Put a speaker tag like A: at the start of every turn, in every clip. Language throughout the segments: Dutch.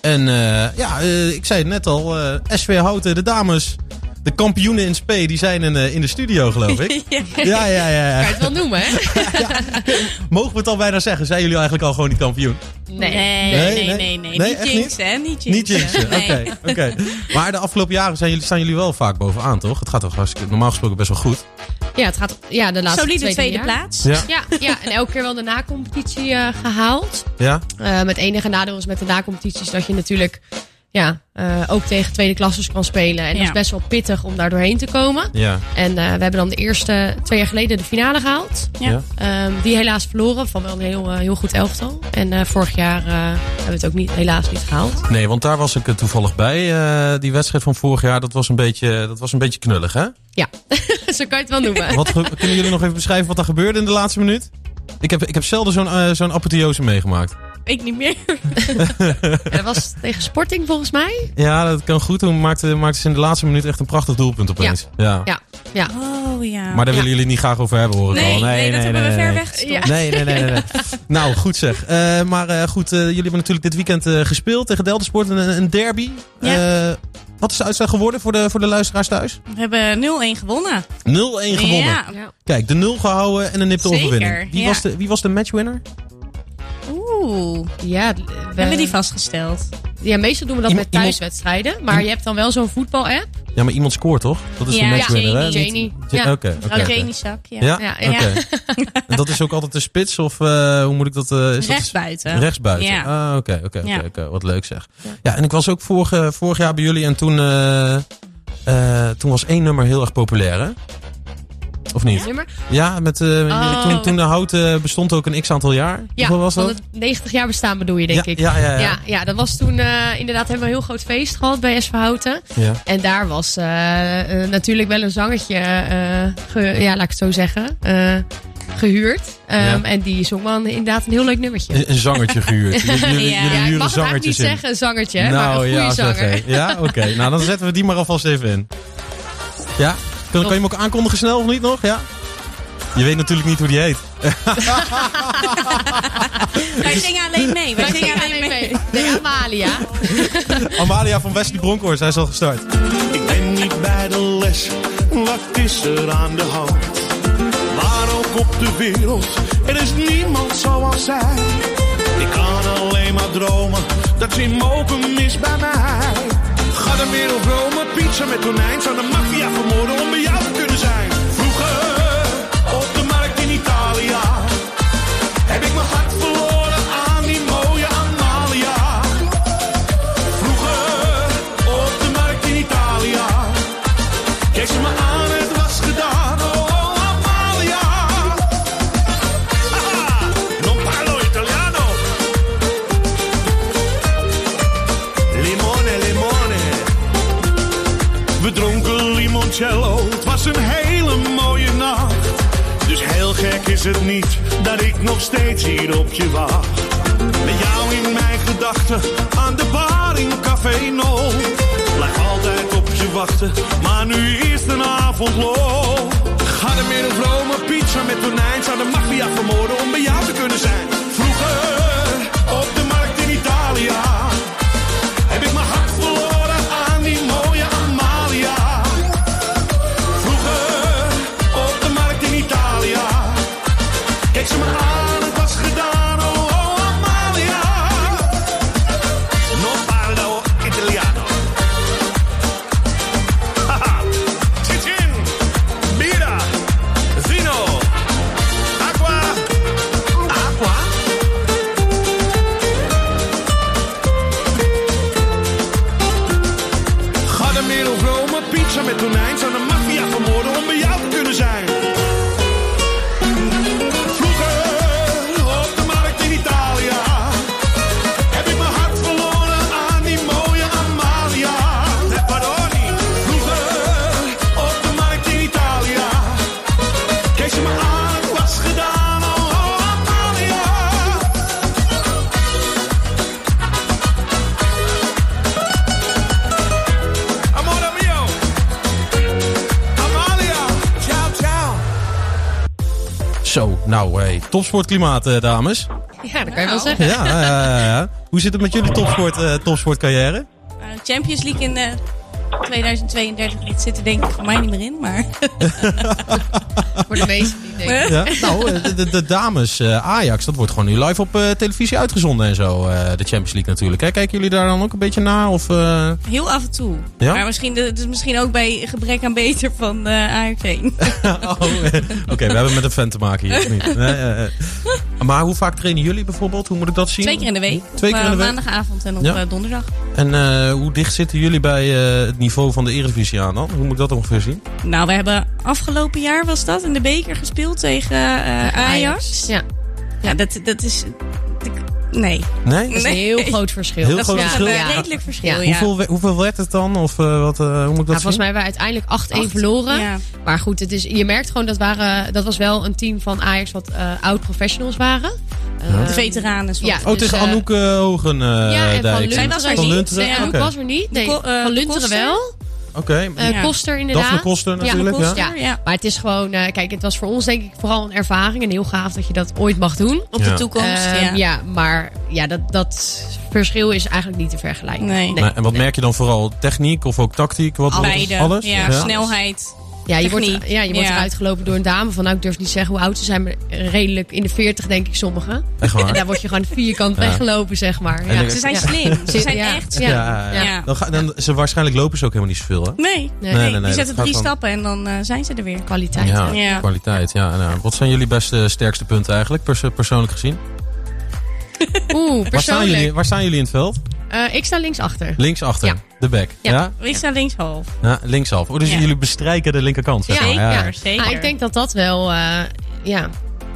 A: En eh, ja, eh, ik zei het net al, eh, SW Houten, de dames, de kampioenen in spe, die zijn in, eh, in de studio geloof ik. Ja,
B: Ja.
A: ja, ja.
C: Kan
A: ja.
C: je het wel noemen, hè?
A: Mogen we het al bijna zeggen? Zijn jullie eigenlijk al gewoon die kampioen?
C: Nee.
B: Nee, nee, nee, nee.
A: nee. Nee,
B: niet
A: echt niet?
B: jinxen, hè? Niet jinxen.
A: Niet jinxen, oké.
B: Nee.
A: oké. Maar de afgelopen jaren zijn jullie, staan jullie wel vaak bovenaan, toch? Het gaat toch hartstikke, normaal gesproken best wel goed.
C: Ja, het gaat ja, de laatste
B: Solide
C: twee, drie
B: tweede
C: jaar.
B: plaats.
A: Ja.
C: Ja, ja, en elke keer wel de nacompetitie eh, gehaald.
A: Ja?
C: Eh, met enige nadeel is met de nacompetities dat je natuurlijk ja, eh, ook tegen tweede klassers kan spelen. En dat
B: Ja.
C: is best wel pittig om daar doorheen te komen.
A: Ja.
C: En eh, we hebben dan de eerste twee jaar geleden de finale gehaald.
B: Ja.
A: Ja.
C: Ehm, die helaas verloren van wel een heel, eh, heel goed elftal. En eh, vorig jaar eh, hebben we het ook niet, helaas niet gehaald.
A: Nee, want daar was ik eh, toevallig bij. eh, die wedstrijd van vorig jaar, dat was een beetje, dat was een beetje knullig, hè?
C: Ja, zo kan je het wel noemen.
A: Wat, ge- kunnen jullie nog even beschrijven wat er gebeurde in de laatste minuut? Ik heb, ik heb zelden zo'n eh, zo'n apotheose meegemaakt.
B: Ik niet meer.
C: Dat was tegen Sporting volgens mij.
A: Ja, dat kan goed. Toen maakte, maakte ze in de laatste minuut echt een prachtig doelpunt opeens. Ja.
C: Ja, ja.
B: Oh ja.
A: Maar daar
C: Ja.
A: willen jullie niet graag over hebben, hoor ik
B: nee,
A: al.
B: nee, dat hebben we ver
A: nee.
B: weg.
C: Ja.
A: Nee, nee, nee, nee. nee. nou, goed zeg. Eh, maar eh, goed, eh, jullie hebben natuurlijk dit weekend eh, gespeeld tegen Deltasport, een, een derby.
B: Ja.
A: Eh, wat is de uitslag geworden voor de, voor de luisteraars thuis? 0-1
B: We hebben 0-1 gewonnen.
A: gewonnen.
B: Ja.
C: ja.
A: Kijk, de 0 gehouden en een nipte
B: Zeker,
A: overwinning. Wie,
B: ja.
A: was de, wie was de matchwinner?
B: Oeh. We
C: Ja, we,
B: hebben
A: Eh.
B: die vastgesteld.
C: ja, meestal doen we dat
A: Iem-
C: met
A: iemand-
C: thuiswedstrijden. Maar je hebt dan wel zo'n voetbal-app.
A: Ja, maar iemand scoort toch? Dat is
B: Ja,
A: de matchwinner,
C: Janie,
A: hè? Niet-
C: Janie.
A: Ja,
C: Ja.
A: Oké, oké,
B: Mevrouw
A: oké.
B: Jenny Zak, ja.
A: Ja,
C: Ja,
A: oké. En dat is ook altijd de spits of eh, hoe moet ik dat... eh is dat
B: Rechts buiten.
A: Rechtsbuiten.
B: Ja.
A: Ah, oké, oké, oké,
B: Ja.
A: oké. Wat leuk zeg. Ja. en ik was ook vorige, vorig jaar bij jullie en toen, eh, eh, toen was één nummer heel erg populair, hè? Of niet? Ja,
C: Nummer.
A: met, eh,
C: Oh.
A: toen, toen de houten bestond ook een x aantal jaar.
C: Ja,
A: Hoeveel was
C: van
A: dat?
C: het 90 jaar bestaan bedoel je, denk
A: ja,
C: ik.
A: Ja, ja, ja.
C: Ja, ja, dat was toen eh, inderdaad hebben we een heel groot feest gehad bij SV Houten.
A: Ja.
C: En daar was eh, eh, natuurlijk wel een zangetje, eh, ge- ja, laat ik het zo zeggen, eh, gehuurd. Ehm,
A: Ja.
C: En die zong wel een- inderdaad een heel leuk nummertje.
A: Een, een zangertje gehuurd. Jullie, jullie,
B: Ja,
A: jullie
C: ja, ik
A: huren
C: mag het eigenlijk niet
A: zangertjes in.
C: zeggen, een zangertje, hè, maar een
A: nou
C: goede
A: ja,
C: zanger.
A: zeg, hé. Ja, oké. Nou, dan zetten we die maar alvast even in. Ja? Kan, kan je hem ook aankondigen snel of niet nog? Ja? Je weet natuurlijk niet hoe die heet.
B: Wij zingen alleen mee. Wij
C: Wij
B: zingen
C: zingen alleen mee. Nee, Amalia.
A: Amalia van Wesley Bronkhorst, hij is al gestart.
D: Ik ben niet bij de les, wat is er aan de hand? Waar ook op de wereld, er is niemand zoals zij. Ik kan alleen maar dromen, dat ze mogen is bij mij. Ga de wereld romen, pizza met tonijn. Zou de maffia vermoorden om bij jou te kunnen zijn? Vroeger, op de markt in Italië. Heb ik mijn hart verloren aan die mooie Amalia. Vroeger op de markt in Italië. Keek ze me aan, het was gedaan. Oh, oh Amalia. Ah, non parlo italiano. Limone, limone. We dronken limoncello, het was een hele mooie nacht. Dus heel gek is het niet dat ik nog steeds hier op je wacht. Met jou in mijn gedachten aan de bar in Café No. Blijf altijd op je wachten, maar nu is de avond lo. Ga de middag Rome, pizza met tonijn. Zou de maffia vermoorden om bij jou te kunnen zijn? Vroeger op de markt in Italië heb ik mijn hart verloren aan die mooie Amalia. Vroeger op de markt in Italië. Kijk ze me aan, het was gedaan, oh, oh Amalia. Non parlo oh, italiano. Haha, Cin cin, bira, vino, aqua, aqua. Ga de middel Rome, pizza met tonijn. Zou de maffia vermoorden om bij jou te kunnen zijn. Vroeger op de markt in Italië heb ik mijn hart verloren aan die mooie Amalia. De Paroni. Vroeger op de markt in Italië keek ze me aan, het was gedaan. Oh, oh Amalia. Amore mio. Amalia. Ciao, ciao.
A: Zo, nou hey, topsportklimaat, eh, dames. Nou.
C: Ja, dat kan je wel zeggen.
A: Ja, ja, ja, ja. Hoe zit het met jullie topsport, eh, topsportcarrière?
B: Eh, Champions League in eh, 2032 dat zit er denk ik voor mij niet meer in, maar...
C: Voor de meesten niet, denk ik.
A: Ja? Nou, eh, de, de, de dames eh, Ajax, dat wordt gewoon nu live op eh, televisie uitgezonden en zo. eh, de Champions League natuurlijk. Hè? Kijken jullie daar dan ook een beetje naar? Of, eh,
B: Heel af en toe.
A: Ja?
B: Maar misschien, dus misschien ook bij gebrek aan beter van eh AFC.
A: Oh, eh, Oké, we hebben met een fan te maken hier. of niet? Nee, eh, eh. Maar hoe vaak trainen jullie bijvoorbeeld? Hoe moet ik dat zien?
B: Twee keer in de week.
A: Twee keer
B: op, eh,
A: in de week?
B: Maandagavond en op
A: Ja.
B: eh, donderdag.
A: En eh, hoe dicht zitten jullie bij eh, het niveau van de Eredivisie aan dan? Hoe moet ik dat ongeveer zien?
B: Nou, we hebben afgelopen jaar was dat in de beker gespeeld tegen eh, Ajax. Ja,
C: Ja,
B: dat, dat is... ik- Nee.
A: Nee?
C: dat is een
B: Nee.
C: heel groot verschil.
A: Heel
B: Dat
A: groot
B: is
A: verschil.
B: een
C: Ja.
B: redelijk verschil,
C: Ja.
B: ja.
A: Hoeveel, we- hoeveel werd het dan? Of eh, wat, eh, hoe moet ik dat
C: Ja, volgens
A: zien?
C: mij hebben we uiteindelijk 8-1
B: Acht.
C: verloren.
B: Ja.
C: Maar goed, het is, je merkt gewoon dat, waren, dat was wel een team van Ajax wat eh, oud-professionals waren.
A: Ja.
B: De veteranen soms.
C: Ja.
A: Oh, het is
C: dus, eh,
A: Anouk eh, Hogen. eh
C: Ja, en van
A: Dijk.
B: Zij
C: Lunteren.
B: was er
A: Van
B: niet.
A: Lunteren?
B: Nee,
C: Ja,
A: Oké,
C: Anouk was er niet. Nee,
B: Ko- eh,
C: van Lunteren
B: Koster?
C: wel.
A: Oké.
C: Eh,
B: Ja.
C: Koster inderdaad.
A: Daphne Koster natuurlijk. Ja,
B: Koster.
C: Ja.
B: Ja.
C: Maar het is gewoon, eh, kijk, het was voor ons denk ik vooral een ervaring. En heel gaaf dat je dat ooit mag doen.
B: Op
A: Ja.
B: de toekomst,
C: Ehm,
B: ja.
C: maar ja, dat, dat verschil is eigenlijk niet te vergelijken.
B: Nee.
A: Nou, en wat merk je dan vooral? Techniek of ook tactiek? Wat, wat-
B: Beide.
A: Alles?
B: Ja, snelheid.
C: Ja, je wordt,
B: Techniek.
C: ja, je wordt
B: Ja.
C: eruit gelopen door een dame van, nou, ik durf niet zeggen hoe oud ze zijn, maar redelijk in de 40 denk ik sommigen.
A: Echt
C: En
A: waar?
C: daar word je gewoon vierkant
A: Ja.
C: weggelopen, zeg maar.
A: En
C: Ja.
A: ik-
B: Ze zijn
C: Ja.
B: slim. Ze zijn
C: Ja.
B: echt...
A: Ja,
C: Ja.
A: ja, ja.
B: Ja.
A: Dan ga, dan, ze, waarschijnlijk lopen ze ook helemaal niet zoveel, hè?
B: Nee.
C: Nee,
A: nee,
B: Nee,
A: nee,
B: die
A: dat
B: zetten
A: gaat
B: drie
A: dan-
B: stappen en dan eh, zijn ze er weer.
C: Kwaliteit.
A: Ja,
B: Ja.
A: kwaliteit. Ja, nou, wat zijn jullie beste, sterkste punten eigenlijk, perso- persoonlijk gezien?
C: Oeh,
A: Waar staan,
C: persoonlijk.
A: jullie, waar staan jullie in het veld?
C: Eh, ik sta linksachter.
A: Linksachter,
C: Ja.
A: de back. Ja.
C: Ja.
A: Ja?
B: Ik sta linkshalf.
A: linksaf. Oh, dus
B: Ja.
A: jullie bestrijken de linkerkant, zeg maar.
B: Zeker,
A: Ja.
B: zeker.
C: Ah, ik denk dat dat wel, eh, ja.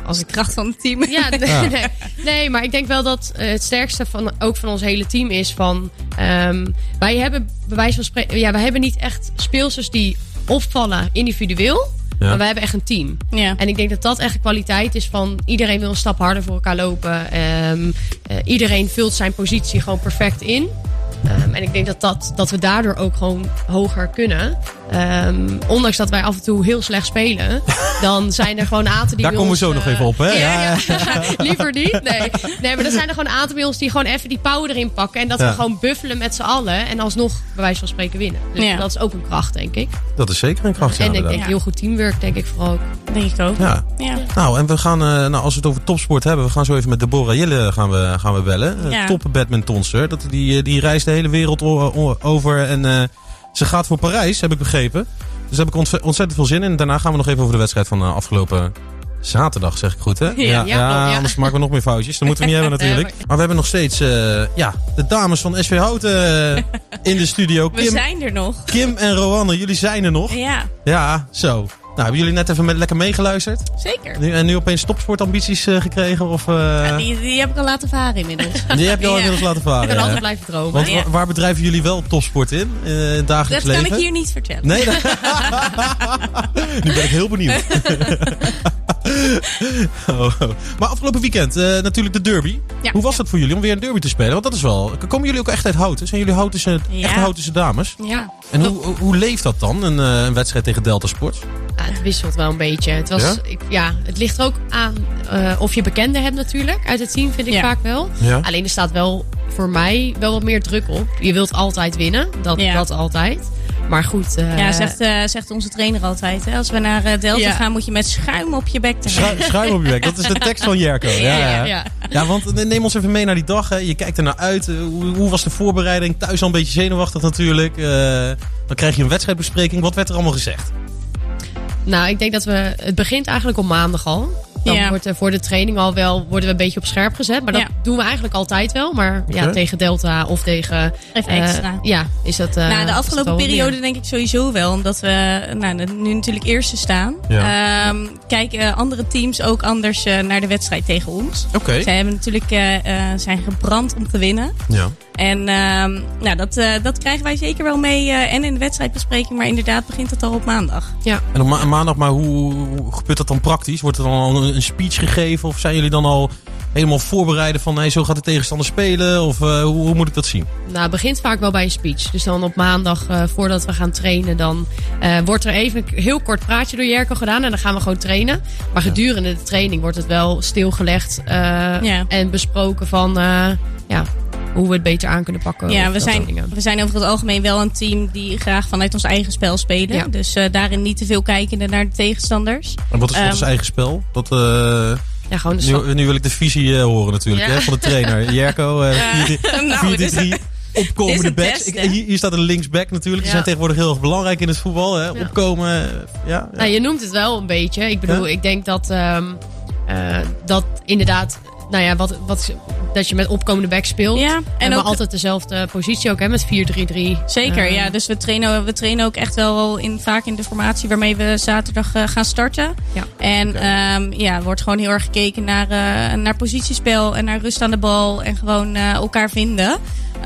B: als ik kracht van het team.
C: Ja,
A: Ja.
C: Nee, nee, maar ik denk wel dat eh, het sterkste van, ook van ons hele team is van... ehm, wij, hebben, bij wijze van spreken, ja, wij hebben niet echt speelsters die opvallen individueel.
A: Ja.
C: Maar wij hebben echt een team.
B: Ja.
C: En ik denk dat dat echt de kwaliteit is van iedereen wil een stap harder voor elkaar lopen. Ehm, eh, iedereen vult zijn positie gewoon perfect in. Ehm, en ik denk dat, dat, dat we daardoor ook gewoon hoger kunnen. Ehm, ondanks dat wij af en toe heel slecht spelen, dan zijn er gewoon aten die.
A: Daar
C: bij
A: komen we zo
C: ons,
A: nog
C: eh,
A: even op, hè?
C: ja,
A: Ja,
C: ja. Liever niet. Nee. nee, maar er zijn er gewoon een aantal bij ons die gewoon even die power erin pakken. En dat
A: Ja.
C: we gewoon buffelen met z'n allen. En alsnog, bij wijze van spreken, winnen. Dus
B: Ja.
C: dat is ook een kracht, denk ik.
A: Dat is zeker een kracht, ja,
C: en ik denk
A: inderdaad.
C: heel goed teamwork, denk ik vooral ook.
B: denk ik ook.
A: Ja.
B: Ja.
A: Nou, en we gaan, eh, nou, als we het over topsport hebben, we gaan zo even met Deborah Jille gaan we, gaan we bellen. Eh,
B: Ja.
A: Top badmintonster. Dat, die, eh, die reist de hele wereld o- o- over en eh, ze gaat voor Parijs, heb ik begrepen. Dus daar heb ik ontze- ontzettend veel zin in. Daarna gaan we nog even over de wedstrijd van eh, afgelopen zaterdag, zeg ik goed, hè?
B: Ja,
C: ja, klopt, ja.
A: anders maken we nog meer foutjes. Dat moeten we niet hebben natuurlijk.
C: Ja,
A: Maar we hebben nog steeds eh, ja, de dames van SV Houten eh, in de studio.
B: We
A: Kim,
B: zijn er nog.
A: Kim en Roanne, jullie zijn er nog.
B: Ja,
A: Ja, zo. Nou, hebben jullie net even met, lekker meegeluisterd?
B: zeker.
A: Nu, en nu opeens topsportambities eh, gekregen? Of, eh, die,
B: Die, die heb ik al laten varen inmiddels.
A: heb je al
B: Ja.
A: inmiddels laten
C: Ik kan
A: varen.
C: altijd
A: ja.
C: blijven dromen.
A: Want
B: Ja.
A: wa- waar bedrijven jullie wel topsport in? eh, in het
B: Dat
A: dagelijks
B: kan
A: leven?
B: ik hier niet vertellen.
A: Nee, dat- nu ben ik heel benieuwd. Oh, oh. Maar afgelopen weekend eh, natuurlijk de derby.
B: Ja.
A: Hoe was dat voor jullie om weer een derby te spelen? Want dat is wel. Komen jullie ook echt uit houten? Zijn jullie houtense,
B: Ja.
A: echte houtense dames?
B: Ja.
A: En hoe, hoe- hoe leeft dat dan? Een, eh, een wedstrijd tegen Delta Sport?
C: Ja, Ah, het wisselt wel een beetje. Het, was,
A: Ja?
C: ja? Ik, ja, het ligt er ook aan eh, of je bekenden hebt natuurlijk. Uit het team vind ik
B: Ja.
C: vaak wel.
A: Ja.
C: Alleen er staat wel voor mij wel wat meer druk op. Je wilt altijd winnen. Dat,
B: Ja.
C: dat altijd. Maar goed. eh,
B: Ja, zegt, eh, zegt onze trainer altijd. Hè. Als we naar eh, Delta
C: Ja.
B: gaan, moet je met schuim op je bek te
A: Schrui- schuim op je bek, dat is de tekst van Jerko. Ja, ja, ja.
C: ja.
A: Ja, want eh, neem ons even mee naar die dag. Hè. Je kijkt er naar uit. Eh, Hoe, hoe was de voorbereiding? Thuis al een beetje zenuwachtig natuurlijk. Eh, dan krijg je een wedstrijdbespreking. Wat werd er allemaal gezegd?
C: Nou, ik denk dat we. Het begint eigenlijk op maandag al. Dan
B: Ja.
C: wordt er voor de training al wel worden we een beetje op scherp gezet. Maar dat
B: Ja.
C: doen we eigenlijk altijd wel. Maar ja,
A: Oké.
C: tegen Delta of tegen.
B: Even
C: eh,
B: extra.
C: ja, is dat. eh,
B: nou, de
C: is
B: afgelopen
C: dat wel
B: periode
C: meer.
B: denk ik sowieso wel. Omdat we nou, nu natuurlijk eerste staan.
A: Ja.
B: Ehm, kijken eh, andere teams ook anders eh, naar de wedstrijd tegen ons.
A: Oké.
B: Zij hebben natuurlijk eh, eh, zijn gebrand om te winnen.
A: Ja.
B: En ehm, nou, dat, eh, dat krijgen wij zeker wel mee. eh, en in de wedstrijdbespreking. Maar inderdaad begint het al op maandag.
C: Ja.
A: En op ma- maandag, maar hoe, hoe gebeurt dat dan praktisch? Wordt er dan al een, een speech gegeven? Of zijn jullie dan al helemaal voorbereiden van... Hey, zo gaat de tegenstander spelen? Of eh, hoe, hoe moet ik dat zien?
C: Nou, het begint vaak wel bij een speech. Dus dan op maandag, eh, voordat we gaan trainen, dan eh, wordt er even een heel kort praatje door Jerko gedaan. En dan gaan we gewoon trainen. Maar gedurende de training wordt het wel stilgelegd eh,
B: Ja.
C: en besproken van, eh, ja, hoe we het beter aan kunnen pakken.
B: Ja,
C: of
B: we
C: eh, dat soort
B: zijn,
C: dingen.
B: we zijn over het algemeen wel een team die graag vanuit ons eigen spel spelen.
C: Ja.
B: Dus eh, daarin niet te veel kijkende naar de tegenstanders.
A: En wat is
B: Ehm,
A: ons eigen spel? Dat, eh,
C: Ja, gewoon de stap.
A: nu, nu wil ik de visie eh, horen natuurlijk
C: Ja.
A: hè, van de trainer. Jerko, eh, 4-3-3,
B: nou, dit is-
A: 4-3-3,
B: dit is
A: opkomende
B: het
A: backs.
B: beste.
A: Ik- hier, hier staat een linksback natuurlijk. Die
C: Ja.
A: zijn tegenwoordig heel erg belangrijk in het voetbal. Hè.
C: Ja.
A: Opkomen, eh, ja. ja.
C: Nou, je noemt het wel een beetje. Ik bedoel,
A: Ja.
C: ik denk dat, ehm, eh, dat inderdaad, nou ja, wat, wat, dat je met opkomende back speelt.
B: Ja, en
C: en maar
B: ook-
C: altijd dezelfde positie ook, hè, met 4-3-3.
B: Zeker,
C: Ehm,
B: ja. Dus we trainen, we trainen ook echt wel al in, vaak in de formatie waarmee we zaterdag eh, gaan starten.
C: Ja.
B: En ehm, ja, er wordt gewoon heel erg gekeken naar, eh, naar positiespel en naar rust aan de bal en gewoon eh, elkaar vinden.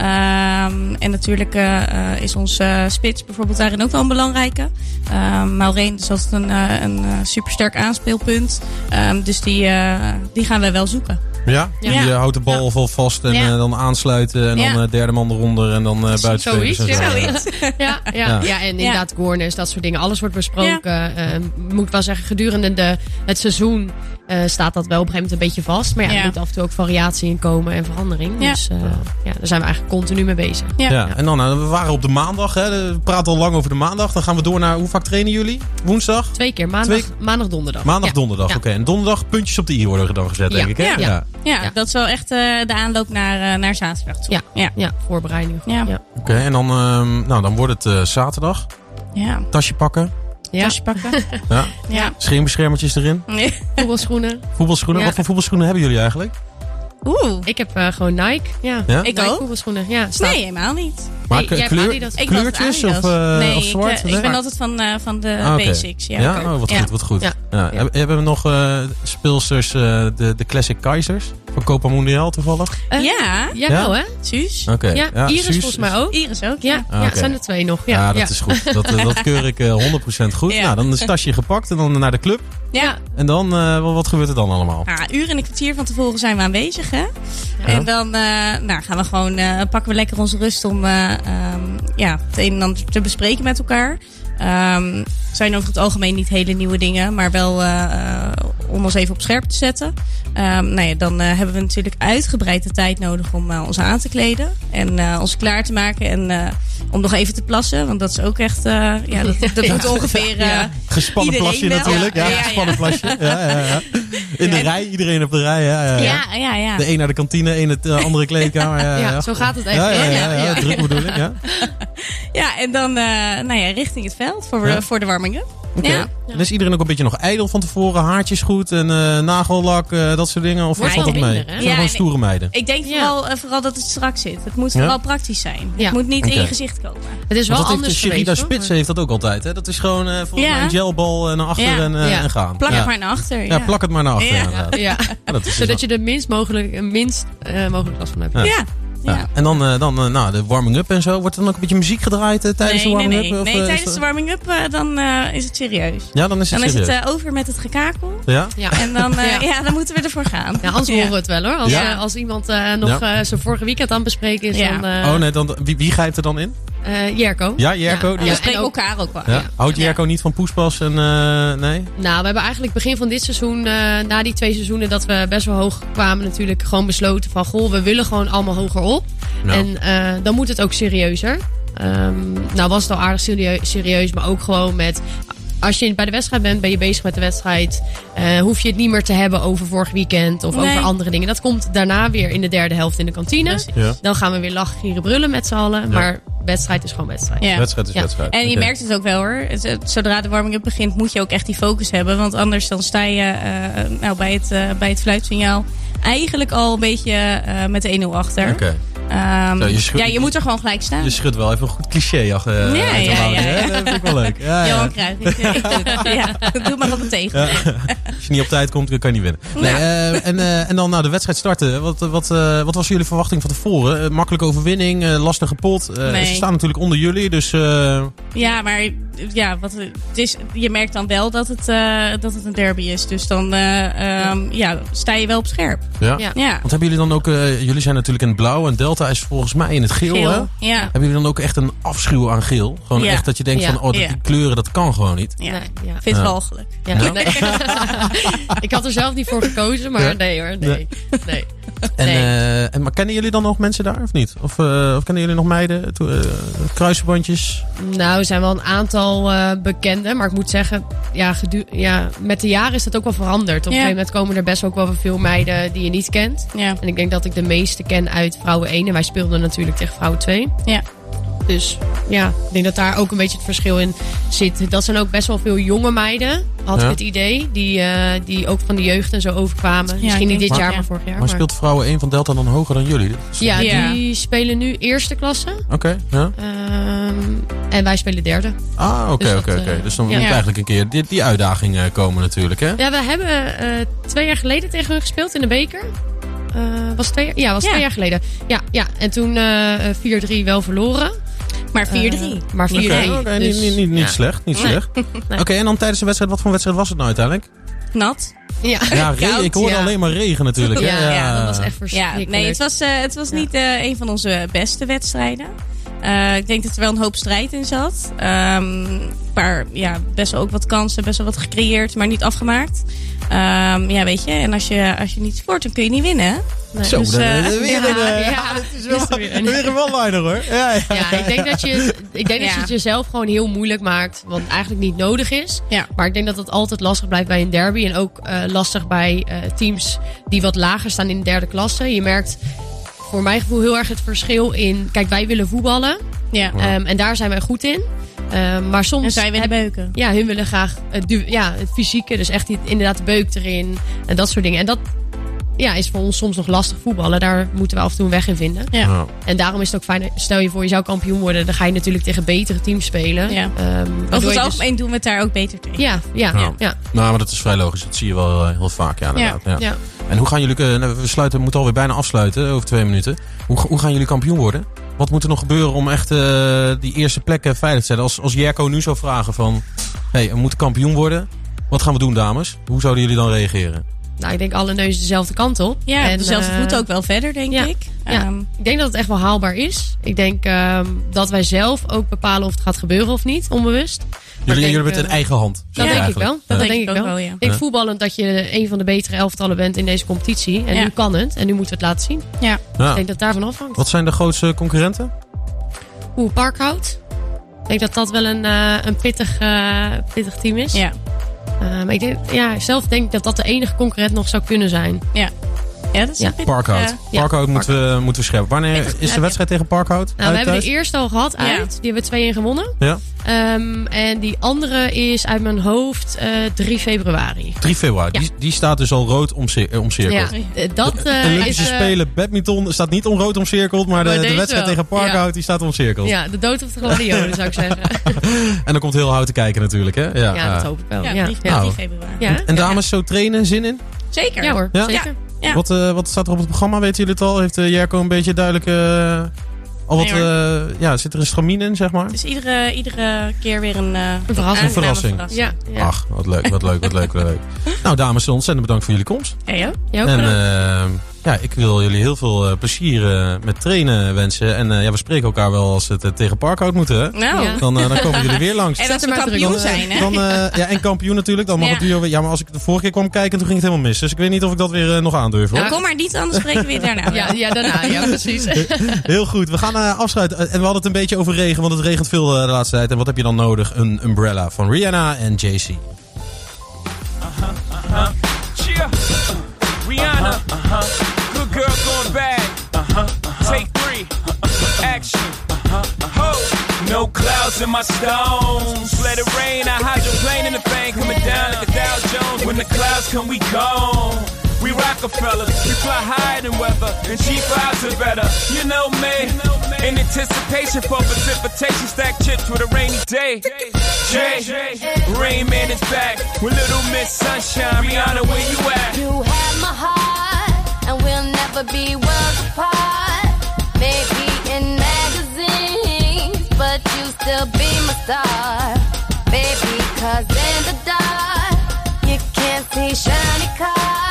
B: Ehm, en natuurlijk eh, eh, is onze eh, spits bijvoorbeeld daarin ook wel een belangrijke. Ehm Maureen is altijd een, eh, een eh, supersterk aanspeelpunt. Ehm, dus die, eh, die gaan wij wel zoeken.
A: Ja,
C: Ja.
A: die eh, houdt de bal
C: Ja.
A: vol vast en
B: Ja.
A: eh, dan aansluiten. En
B: Ja.
A: dan eh, derde man eronder en dan eh buitenspelers.
C: zoiets,
A: en zo.
C: ja. Zoiets. Ja, ja, ja. en inderdaad, corners, dat soort dingen. Alles wordt besproken. Ehm, Ik moet wel zeggen, gedurende de, het seizoen eh, staat dat wel op een gegeven moment een beetje vast. Maar ja,
B: Ja.
C: er moet af en toe ook variatie in komen en verandering.
B: Ja.
C: Dus eh, ja, daar zijn we eigenlijk continu mee bezig.
B: Ja.
A: Ja, en dan, eh, we waren op de maandag. Hè. We praten al lang over de maandag. Dan gaan we door naar, hoe vaak trainen jullie? Woensdag?
C: Twee keer, maandag, maandag donderdag.
A: Maandag,
C: Ja.
A: donderdag.
C: Ja.
A: Oké, en donderdag puntjes op de i worden dan gezet,
C: Ja.
A: denk ik. Hè?
B: Ja. Ja,
C: Ja.
B: dat is wel echt eh, de aanloop naar, eh, naar zaterdag toe.
C: Ja.
B: ja.
C: Ja, voorbereiding.
B: Ja.
A: Oké, en dan, ehm, nou, dan wordt het eh, zaterdag.
B: ja.
A: Tasje pakken.
C: Ja.
B: Tasje pakken.
A: Ja.
B: ja.
A: Scheenbeschermertjes erin.
C: voetbalschoenen.
A: Voetbalschoenen.
C: Ja.
A: Wat voor voetbalschoenen hebben jullie eigenlijk?
B: Oeh.
C: Ik heb eh, gewoon Nike. Ja.
A: Ja?
B: Ik
C: Nike
B: ook.
C: voetbalschoenen. Ja, staat.
B: Nee, helemaal niet.
A: Maar
C: Nee,
A: k-
C: jij hebt
A: kleur,
C: Adidas. Ik
A: kleurtjes
B: was
A: of, eh,
B: nee,
A: of zwart?
B: Ik, eh, ik ben altijd van, eh, van de
A: Ah, oké.
B: basics. Ja,
A: Ja,
B: Oké.
A: oh, wat
B: Ja.
A: goed, wat goed. Ja.
C: Ja.
A: Heb- Hebben we nog eh speelsters, eh, de, de Classic Kaisers van Copa Mundial toevallig?
C: Eh,
B: Ja,
C: Jij
A: Ja?
C: wel, hè?
B: Suus.
A: Oké.
C: Ja, Iris
A: Suus
C: volgens mij ook.
B: Iris ook.
C: Ja,
B: Ja.
A: Ah,
C: ja,
A: oké.
C: zijn er twee nog.
A: Ja,
C: Ja,
A: dat is goed. Dat, eh, dat keur ik eh, 100% goed.
B: Ja.
A: Nou, dan is het tasje gepakt en dan naar de club.
B: ja.
A: En dan, eh, wat- wat gebeurt er dan allemaal?
B: Ah, uur en een kwartier van tevoren zijn we aanwezig, hè? En dan eh, nou, gaan we gewoon, eh, pakken we lekker onze rust om eh, ehm, ja, het een en ander te bespreken met elkaar. Ehm zijn over het algemeen niet hele nieuwe dingen, maar wel eh, eh, om ons even op scherp te zetten. Ehm nou ja, dan eh, hebben we natuurlijk uitgebreid de tijd nodig om eh, ons aan te kleden en eh, ons klaar te maken en eh, om nog even te plassen. Want dat is ook echt, eh, ja, dat, dat moet ongeveer... eh,
C: Ja.
A: Gespannen
B: Iedereen
A: plasje
B: wel.
A: natuurlijk. Ja,
B: Ja, ja, ja.
A: gespannen plasje. Ja, ja, ja. In de
B: En-
A: rij, iedereen op de rij. Ja, ja, ja.
B: ja, ja, ja.
A: De een naar de kantine, een naar de andere kleedkamer. Ja, ja,
C: Ja, zo gaat het echt.
A: Ja, ja, ja, ja,
C: Ja, ja.
A: druk bedoel ik. Ja.
B: Ja, en dan eh, nou ja, richting het veld voor,
A: Ja.
B: voor de warming-up.
A: Oké.
B: Ja.
A: En is iedereen ook een beetje nog ijdel van tevoren? Haartjes goed en eh, nagellak, eh, dat soort dingen? Of
C: Wordt
A: valt dat
C: wel
A: mee?
C: minder, hè?
A: Zijn
B: Ja,
A: gewoon
B: en-
A: stoere meiden?
B: Ik denk
C: Ja.
B: vooral, eh, vooral dat het strak zit. Het moet
A: Ja?
B: vooral praktisch zijn.
C: Ja.
B: Het moet niet in
A: Oké.
B: je gezicht komen.
C: Het is wel
A: Want dat heeft
C: anders geweest,
A: Sherida
C: hoor.
A: Spits heeft dat ook altijd. Hè? Dat is gewoon eh, volgens
B: Ja.
A: mij een gelbal eh, naar achter
B: Ja.
A: En, eh,
C: Ja.
A: en gaan.
B: Plak
A: ja.
B: het maar naar achter.
A: Ja, plak het maar naar achter.
B: Ja.
A: inderdaad.
C: Ja,
A: Ja, dat is dus
C: zodat je de minst mogelijk, minst eh, mogelijk last van hebt.
A: Ja.
B: Ja.
A: wel- ja.
B: ja.
A: En dan, eh, dan eh, nou, de warming-up en zo. Wordt er dan ook een beetje muziek gedraaid eh, tijdens
B: nee,
A: de
B: nee,
A: warming-up?
B: nee.
A: Of,
B: nee,
A: eh, is
B: tijdens
A: dat-
B: de warming-up eh, dan eh, is het serieus.
A: Ja, dan is het
B: Dan is het
A: serieus.
B: eh, over met het gekakel.
A: ja?
C: Ja.
B: En dan, eh,
C: Ja.
B: ja. dan moeten we ervoor gaan.
C: Ja, anders horen we het wel hoor. Als,
A: Ja.
C: eh, als iemand eh, nog eh, zijn vorige weekend aan het bespreken is,
B: Ja.
C: dan eh,
A: Oh nee, dan, wie, wie grijpt er dan in?
C: eh, Jerko.
A: Ja, Jerko, die-
B: We
A: Ja, en
B: spreken
C: en ook-
B: elkaar ook wel.
A: Ja? Houdt Jerko niet van poespas en... eh, nee?
C: Nou, we hebben eigenlijk begin van dit seizoen, eh, na die twee seizoenen dat we best wel hoog kwamen, natuurlijk gewoon besloten van goh, we willen gewoon allemaal hoger op.
A: Nou.
C: En eh, dan moet het ook serieuzer. Ehm, nou was het al aardig serieus, serieus, maar ook gewoon met. Als je bij de wedstrijd bent, ben je bezig met de wedstrijd. Eh, hoef je het niet meer te hebben over vorig weekend of
B: Nee.
C: over andere dingen. Dat komt daarna weer in de derde helft in de kantine.
B: Precies.
A: Ja.
C: Dan gaan we weer lachen, gieren, brullen met z'n allen. Maar wedstrijd is gewoon wedstrijd.
B: Ja.
A: Wedstrijd is
C: Ja.
A: wedstrijd.
B: En je
A: Oké.
B: merkt het ook wel hoor. Het- het- Zodra de warming-up begint moet je ook echt die focus hebben. Want anders dan sta je eh, nou, bij, het, eh, bij het fluitsignaal eigenlijk al een beetje eh, met de 1-0 achter.
A: Oké.
B: Ehm,
A: Zo, je schu-
B: ja, je moet er gewoon gelijk staan.
A: Je schudt wel even een goed cliché achter. eh,
B: Ja,
A: uit de
B: ja,
A: mouwen,
B: ja,
A: hè? Dat vind ik wel leuk. Ja, ja.
B: Johan Cruijff. ik- ik doe het. Ja, doe maar op het tegen.
A: Ja. Als je niet op tijd komt, dan kan je niet winnen. Nee,
B: Nou.
A: eh, en, eh, en dan nou, de wedstrijd starten. Wat, eh, wat, eh, wat was jullie verwachting van tevoren? Eh, makkelijke overwinning, eh, lastige pot. Eh,
B: Nee.
A: Ze staan natuurlijk onder jullie, dus... eh,
B: Ja, maar ja, wat, het is, je merkt dan wel dat het, eh, dat het een derby is. Dus dan eh, ehm, ja, sta je wel op scherp.
A: ja.
C: Ja.
B: Ja.
A: Want hebben jullie dan ook... eh, jullie zijn natuurlijk in het blauw en Delft Delta is volgens mij in het geel,
B: Geel.
A: hè?
B: Ja.
A: Hebben jullie dan ook echt een afschuw aan geel? Gewoon
B: Ja.
A: echt dat je denkt
C: Ja.
A: van, oh, dat-
B: Ja.
A: die kleuren, dat kan gewoon niet.
B: ja.
C: Nee, ja.
B: Ik vind het
A: Ja.
B: walgelijk.
C: Ja,
A: Nou.
C: nee. ik had er zelf niet voor gekozen, maar nee hoor. Nee. nee.
A: En,
C: Nee.
A: eh, en, maar kennen jullie dan nog mensen daar of niet? Of, eh, of kennen jullie nog meiden? To- eh, kruisverbandjes?
C: Nou, er zijn wel een aantal eh bekenden. Maar ik moet zeggen, ja, gedu- ja, met de jaren is dat ook wel veranderd. Op een
B: Ja.
C: gegeven moment komen er best ook wel veel meiden die je niet kent.
B: Ja.
C: En ik denk dat ik de meeste ken uit vrouwen 1. En wij speelden natuurlijk tegen vrouwen 2.
B: Ja.
C: Dus ja, ik denk dat daar ook een beetje het verschil in zit. Dat zijn ook best wel veel jonge meiden, had
A: Ja.
C: ik het idee. Die, eh, die ook van de jeugd en zo overkwamen.
B: Ja,
C: Misschien niet
B: ik denk
C: dit
B: het,
C: jaar,
B: ja.
C: maar vorig jaar.
A: Maar speelt vrouwen 1 van Delta dan hoger dan jullie? Dat is-
C: ja,
B: Ja.
C: die spelen nu eerste klasse.
A: Oké, ja.
C: Ehm, en wij spelen derde.
A: Ah, oké,
C: Dus dat,
A: oké, oké.
C: eh,
A: Dus dan
C: ja.
A: moet
B: Ja.
A: eigenlijk een keer die, die uitdaging eh, komen natuurlijk, hè?
C: Ja, we hebben eh, twee jaar geleden tegen hun gespeeld in de beker. Eh, was twee, ja, was
B: Ja.
C: twee jaar geleden. Ja, ja. en toen eh, 4-3 wel verloren.
B: Maar 4-3.
C: Eh, maar 4-3.
A: Oké, oké,
C: dus-
A: niet, niet, niet, niet
C: ja.
A: slecht, niet
C: Nee.
A: slecht. Oké, en dan tijdens de wedstrijd, wat voor wedstrijd was het nou uiteindelijk?
B: Nat.
C: Ja.
A: Ja, re-
C: Koud,
A: ik hoorde
C: ja.
A: alleen maar regen natuurlijk. hè?
C: Ja, ja, dat was echt
B: Ja,
C: verschrikkelijk.
B: nee, het was, eh, het was niet eh, een van onze beste wedstrijden. Eh, ik denk dat er wel een hoop strijd in zat. Ehm, Een paar, ja, best wel ook wat kansen, best wel wat gecreëerd, maar niet afgemaakt. Ehm, ja, weet je, en als je, als je niet scoort, dan kun je niet winnen. hè?
C: Nee.
A: Zo,
B: Dus,
A: dan,
B: eh,
A: eh, weer, een,
C: ja,
A: eh,
C: ja,
A: het is
C: is er weer
A: wel,
C: een.
A: weer een one-liner hoor. Ja, ja.
C: Ja, ik denk dat, je, ik denk dat je
B: Ja.
C: het jezelf gewoon heel moeilijk maakt. Wat eigenlijk niet nodig is.
B: Ja.
C: Maar ik denk dat het altijd lastig blijft bij een derby. En ook eh, lastig bij eh, teams die wat lager staan in de derde klasse. Je merkt voor mijn gevoel heel erg het verschil in... Kijk, wij willen voetballen.
B: Ja.
C: ehm, en daar zijn wij goed in. Ehm, maar soms...
B: En zij willen beuken.
C: Ja, hun willen graag het, du- ja, het fysieke. Dus echt die- inderdaad de beuk erin. En dat soort dingen. En dat ja, is voor ons soms nog lastig voetballen. Daar moeten we af en toe een weg in vinden.
B: Ja.
C: En daarom is het ook fijn, stel je voor je zou kampioen worden, dan ga je natuurlijk tegen betere teams spelen.
B: Ja.
C: Ehm,
B: Over
C: waardoor
B: het
C: je dus-
B: algemeen doen we het daar ook beter tegen.
C: Ja, ja,
A: Ja.
C: ja. ja.
A: Nou, maar dat is vrij logisch. Dat zie je wel eh, heel vaak, ja, inderdaad. Ja.
C: ja.
A: En hoe gaan jullie... eh, nou, we, sluiten, we moeten alweer bijna afsluiten, eh, over twee minuten. Hoe, ga- hoe gaan jullie kampioen worden? Wat moet er nog gebeuren om echt eh, die eerste plekken veilig te zetten? Als, als Jerko nu zou vragen van... hey, we moeten kampioen worden. Wat gaan we doen, dames? Hoe zouden jullie dan reageren?
C: Nou, ik denk alle neuzen dezelfde kant op.
B: Ja,
C: En,
B: dezelfde
C: eh,
B: voet ook wel verder, denk
C: ja.
B: ik.
C: Ja.
B: Ehm,
C: Ik denk dat het echt wel haalbaar is. Ik denk ehm, dat wij zelf ook bepalen of het gaat gebeuren of niet, onbewust. Maar ik
A: Jullie,
C: denk,
A: jullie hebben het
C: eh,
A: in eigen hand. zeg
C: Dat
A: je
C: denk ik
A: eigenlijk.
C: wel. Dat denk ik
B: ook
C: wel.
B: wel, ja.
C: Ik denk voetballend dat je een van de betere elftallen bent in deze competitie. En
B: Ja.
C: nu kan het. En nu moeten we het laten zien.
B: ja.
A: Ja.
C: Ik denk dat het daarvan afhangt.
A: Wat zijn de grootste concurrenten?
C: Oeh, Parkhout. Ik denk dat dat wel een, eh, een pittig, eh, pittig team is.
B: Ja.
C: Eh, maar ik denk, ja, zelf denk ik dat dat de enige concurrent nog zou kunnen zijn. Nou,
B: Ja. ja, dat is
C: Ja.
B: een pittig,
A: Parkhout.
B: eh,
C: ja,
A: Parkhout moeten we, moeten we scherpen. Wanneer is de
C: ja.
A: wedstrijd tegen Parkhout?
C: Nou, we
A: Uit
C: hebben de
A: thuis?
C: eerste al gehad
B: Ja.
C: uit. Die hebben we 2-1 gewonnen.
A: Ja?
C: Ehm, en die andere is uit mijn hoofd eh, 3 februari.
A: 3 februari.
C: Ja.
A: Die, die staat dus al rood omcir- eh, omcirkeld.
C: Ja, eh, dat eh,
A: De
C: is...
A: Olympische
C: eh,
A: Spelen badminton staat niet om rood omcirkeld, maar de,
C: Maar
A: de
C: deze
A: wedstrijd
C: wel.
A: tegen Parkhout die staat omcirkeld.
C: ja, de dood of de gladiolen zou ik zeggen.
A: En dan komt heel hout te kijken natuurlijk, hè? Ja,
C: Ja,
A: ja.
C: dat hoop ik wel.
B: Ja,
C: Ja, ja.
B: 3
A: ja. Nou.
B: februari.
C: Ja.
A: En dames, zo trainen, zin in?
B: Zeker.
C: Ja hoor,
A: Ja?
C: zeker.
B: Ja.
A: Wat, eh, wat staat er op het programma? Weten jullie het al? Heeft eh, Jerko een beetje duidelijk... eh, al wat,
B: Nee,
A: eh, ja, zit er een stramien in, zeg maar?
B: Dus iedere, iedere keer weer een, eh,
C: Een verrassing.
B: aangename
A: verrassing.
C: Ja, ja.
A: Ach, wat leuk, wat leuk, wat leuk, wat leuk. Nou, dames, ontzettend bedankt voor jullie komst.
B: Ja, joh.
C: Jij ook
A: En
C: bedankt.
A: eh, ja, ik wil jullie heel veel eh, plezier eh, met trainen wensen. En eh, ja, we spreken elkaar wel als het eh, tegen Parkhout moet, hè?
B: Nou.
C: Ja.
A: Dan, eh, dan komen jullie weer langs.
B: En als we
C: maar druk
B: kampioen
C: op.
B: zijn, hè?
A: Dan, eh, ja, en kampioen natuurlijk. Dan mag
B: Ja.
A: het duo weer. Ja, maar als ik de vorige keer kwam kijken, toen ging het helemaal mis. Dus ik weet niet of ik dat weer eh, nog aandurf. Hoor.
B: Nou, kom maar niet, anders spreken we weer daarna.
C: ja, ja, daarna. Ja, precies.
A: Heel goed. We gaan eh, afsluiten. Eh, En we hadden het een beetje over regen, want het regent veel eh, de laatste tijd. En wat heb je dan nodig? Een umbrella van Rihanna en JC.
E: Cheer. Rihanna. Good girl going bad. Uh-huh, Take 3 Action. Ho. Uh-huh. No clouds in my stones. Let it rain. I hydroplane in the bank. Coming down like a Dow Jones. When the clouds come, we gone. We Rockefellers, we fly higher than weather, and cheap eyes are better. You know me. In anticipation for precipitation, stack chips with a rainy day. Jay, Rain Man is back with Little Miss Sunshine. Rihanna, where you at?
F: You have my heart, and we'll never be worlds apart. Maybe in magazines, but you still be my star. Baby, 'cause in the dark, you can't see shiny cars. eh, eh, eh, eh,